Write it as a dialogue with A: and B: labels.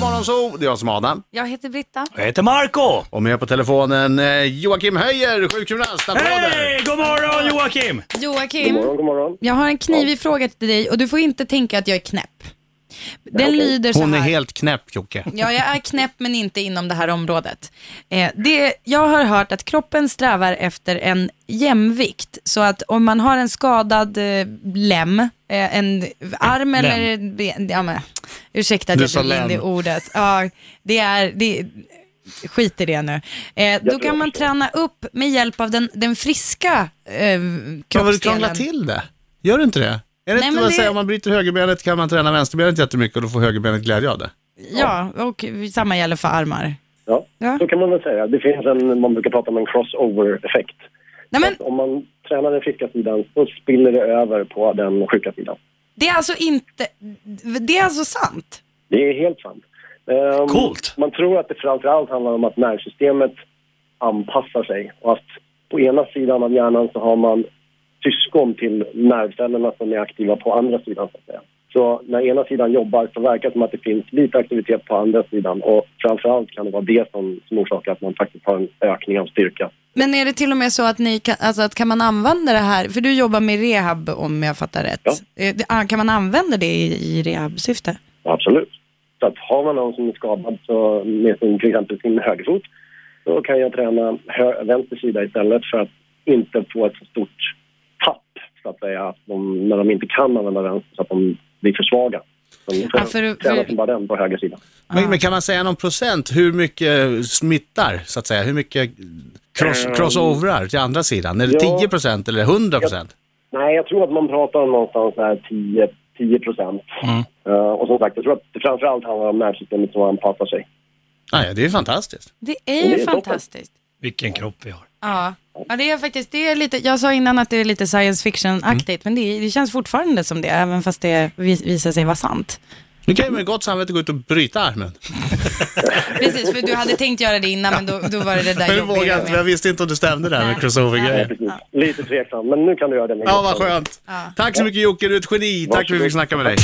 A: Morgonzoo, det är jag som är Adam.
B: Jag heter Britta.
C: Jag heter Marco
A: Och med på telefonen eh, Joakim Höjer, sjukgymnast, applåder!
C: Hej! God morgon Joakim!
B: Joakim,
D: morgon, god morgon.
B: jag har en knivig fråga till dig och du får inte tänka att jag är knäpp. Den lyder så här.
A: Hon är helt knäpp Jocke.
B: Ja, jag är knäpp men inte inom det här området. Eh, det, jag har hört att kroppen strävar efter en jämvikt. Så att om man har en skadad eh, lem, eh, en arm eller ben, ja, men, ursäkta att
A: Du
B: jag
A: sa
B: drog in
A: lem.
B: det ordet. Ja, det är, det, skit i det nu. Eh, då
D: tror
B: kan
D: jag
B: man
D: förstår.
B: träna upp med hjälp av den, den friska eh,
A: Kan du krångla
B: kroppsdelen.
A: till det? Gör du inte det? Är det
B: Nej,
A: inte
B: men
A: vad
B: det-
A: jag säger, om man bryter högerbenet kan man träna vänsterbenet jättemycket och då får högerbenet glädje av det.
B: Ja, och samma gäller för armar.
D: Ja,
B: Ja.
D: så kan man väl säga. Det finns en, man brukar prata om en crossover-effekt.
B: Nej, men,
D: Att Om man tränar den friska sidan så spiller det över på den sjuka sidan.
B: det är alltså inte, det är alltså sant?
D: Det är helt sant. Ehm,
C: Coolt.
D: Man tror att det framför allt handlar om att nervsystemet anpassar sig och att på ena sidan av hjärnan så har man syskon till nervcellerna som är aktiva på andra sidan så att säga. Så när ena sidan jobbar så verkar det som att det finns lite aktivitet på andra sidan och framför allt kan det vara det som, som orsakar att man faktiskt har en ökning av styrka.
B: Men är det till och med så att ni kan, alltså att kan man använda det här, för du jobbar med rehab om jag fattar rätt.
D: Ja.
B: Eh, det- ah, Kan man använda det i i rehabsyfte?
D: Absolut. Så att har man någon som är skadad så med sin, till exempel sin högerfot då kan jag träna hö- vänster sida istället för att inte få ett så stort tapp så att säga att de, när de inte kan använda vänster så att de blir för svaga. Så de får
B: Ja, för-
D: träna
B: för-
D: som bara den på höger sida.
A: Men, men kan man säga någon procent hur mycket smittar, så att säga? Hur mycket cross, crossoverar till andra sidan? Är det
D: Ja.
A: 10 procent eller 100 procent?
D: Nej, jag tror att man pratar om någonstans där 10, 10 procent.
A: Mm.
D: Eh, och som sagt, jag tror att det framför allt handlar om nervsystemet som anpassar sig.
A: Nej, det är ju fantastiskt.
B: Det är ju
D: Det är toppen.
B: fantastiskt.
C: Vilken kropp vi har.
B: Ja. ja, det är faktiskt, det är lite, jag sa innan att det är lite science fiction-aktigt, men det, det känns fortfarande som det, även fast det vis, visar sig vara sant.
A: Nu kan jag med gott samvete gå ut och bryta armen.
B: Precis, för du hade tänkt göra det innan, men då, då var det det där
A: Men jag vågar
B: jobbiga
A: inte, jag
B: med.
A: visste inte om det stämde det här med crossover-grejer.
D: Precis. Lite tveksam, men nu kan du göra det. med
A: Ja,
D: kroppen.
A: vad skönt.
B: Ja.
A: Tack så mycket Jocke, du är ett geni. Tack för att vi fick
D: Varsågod.
A: snacka med dig.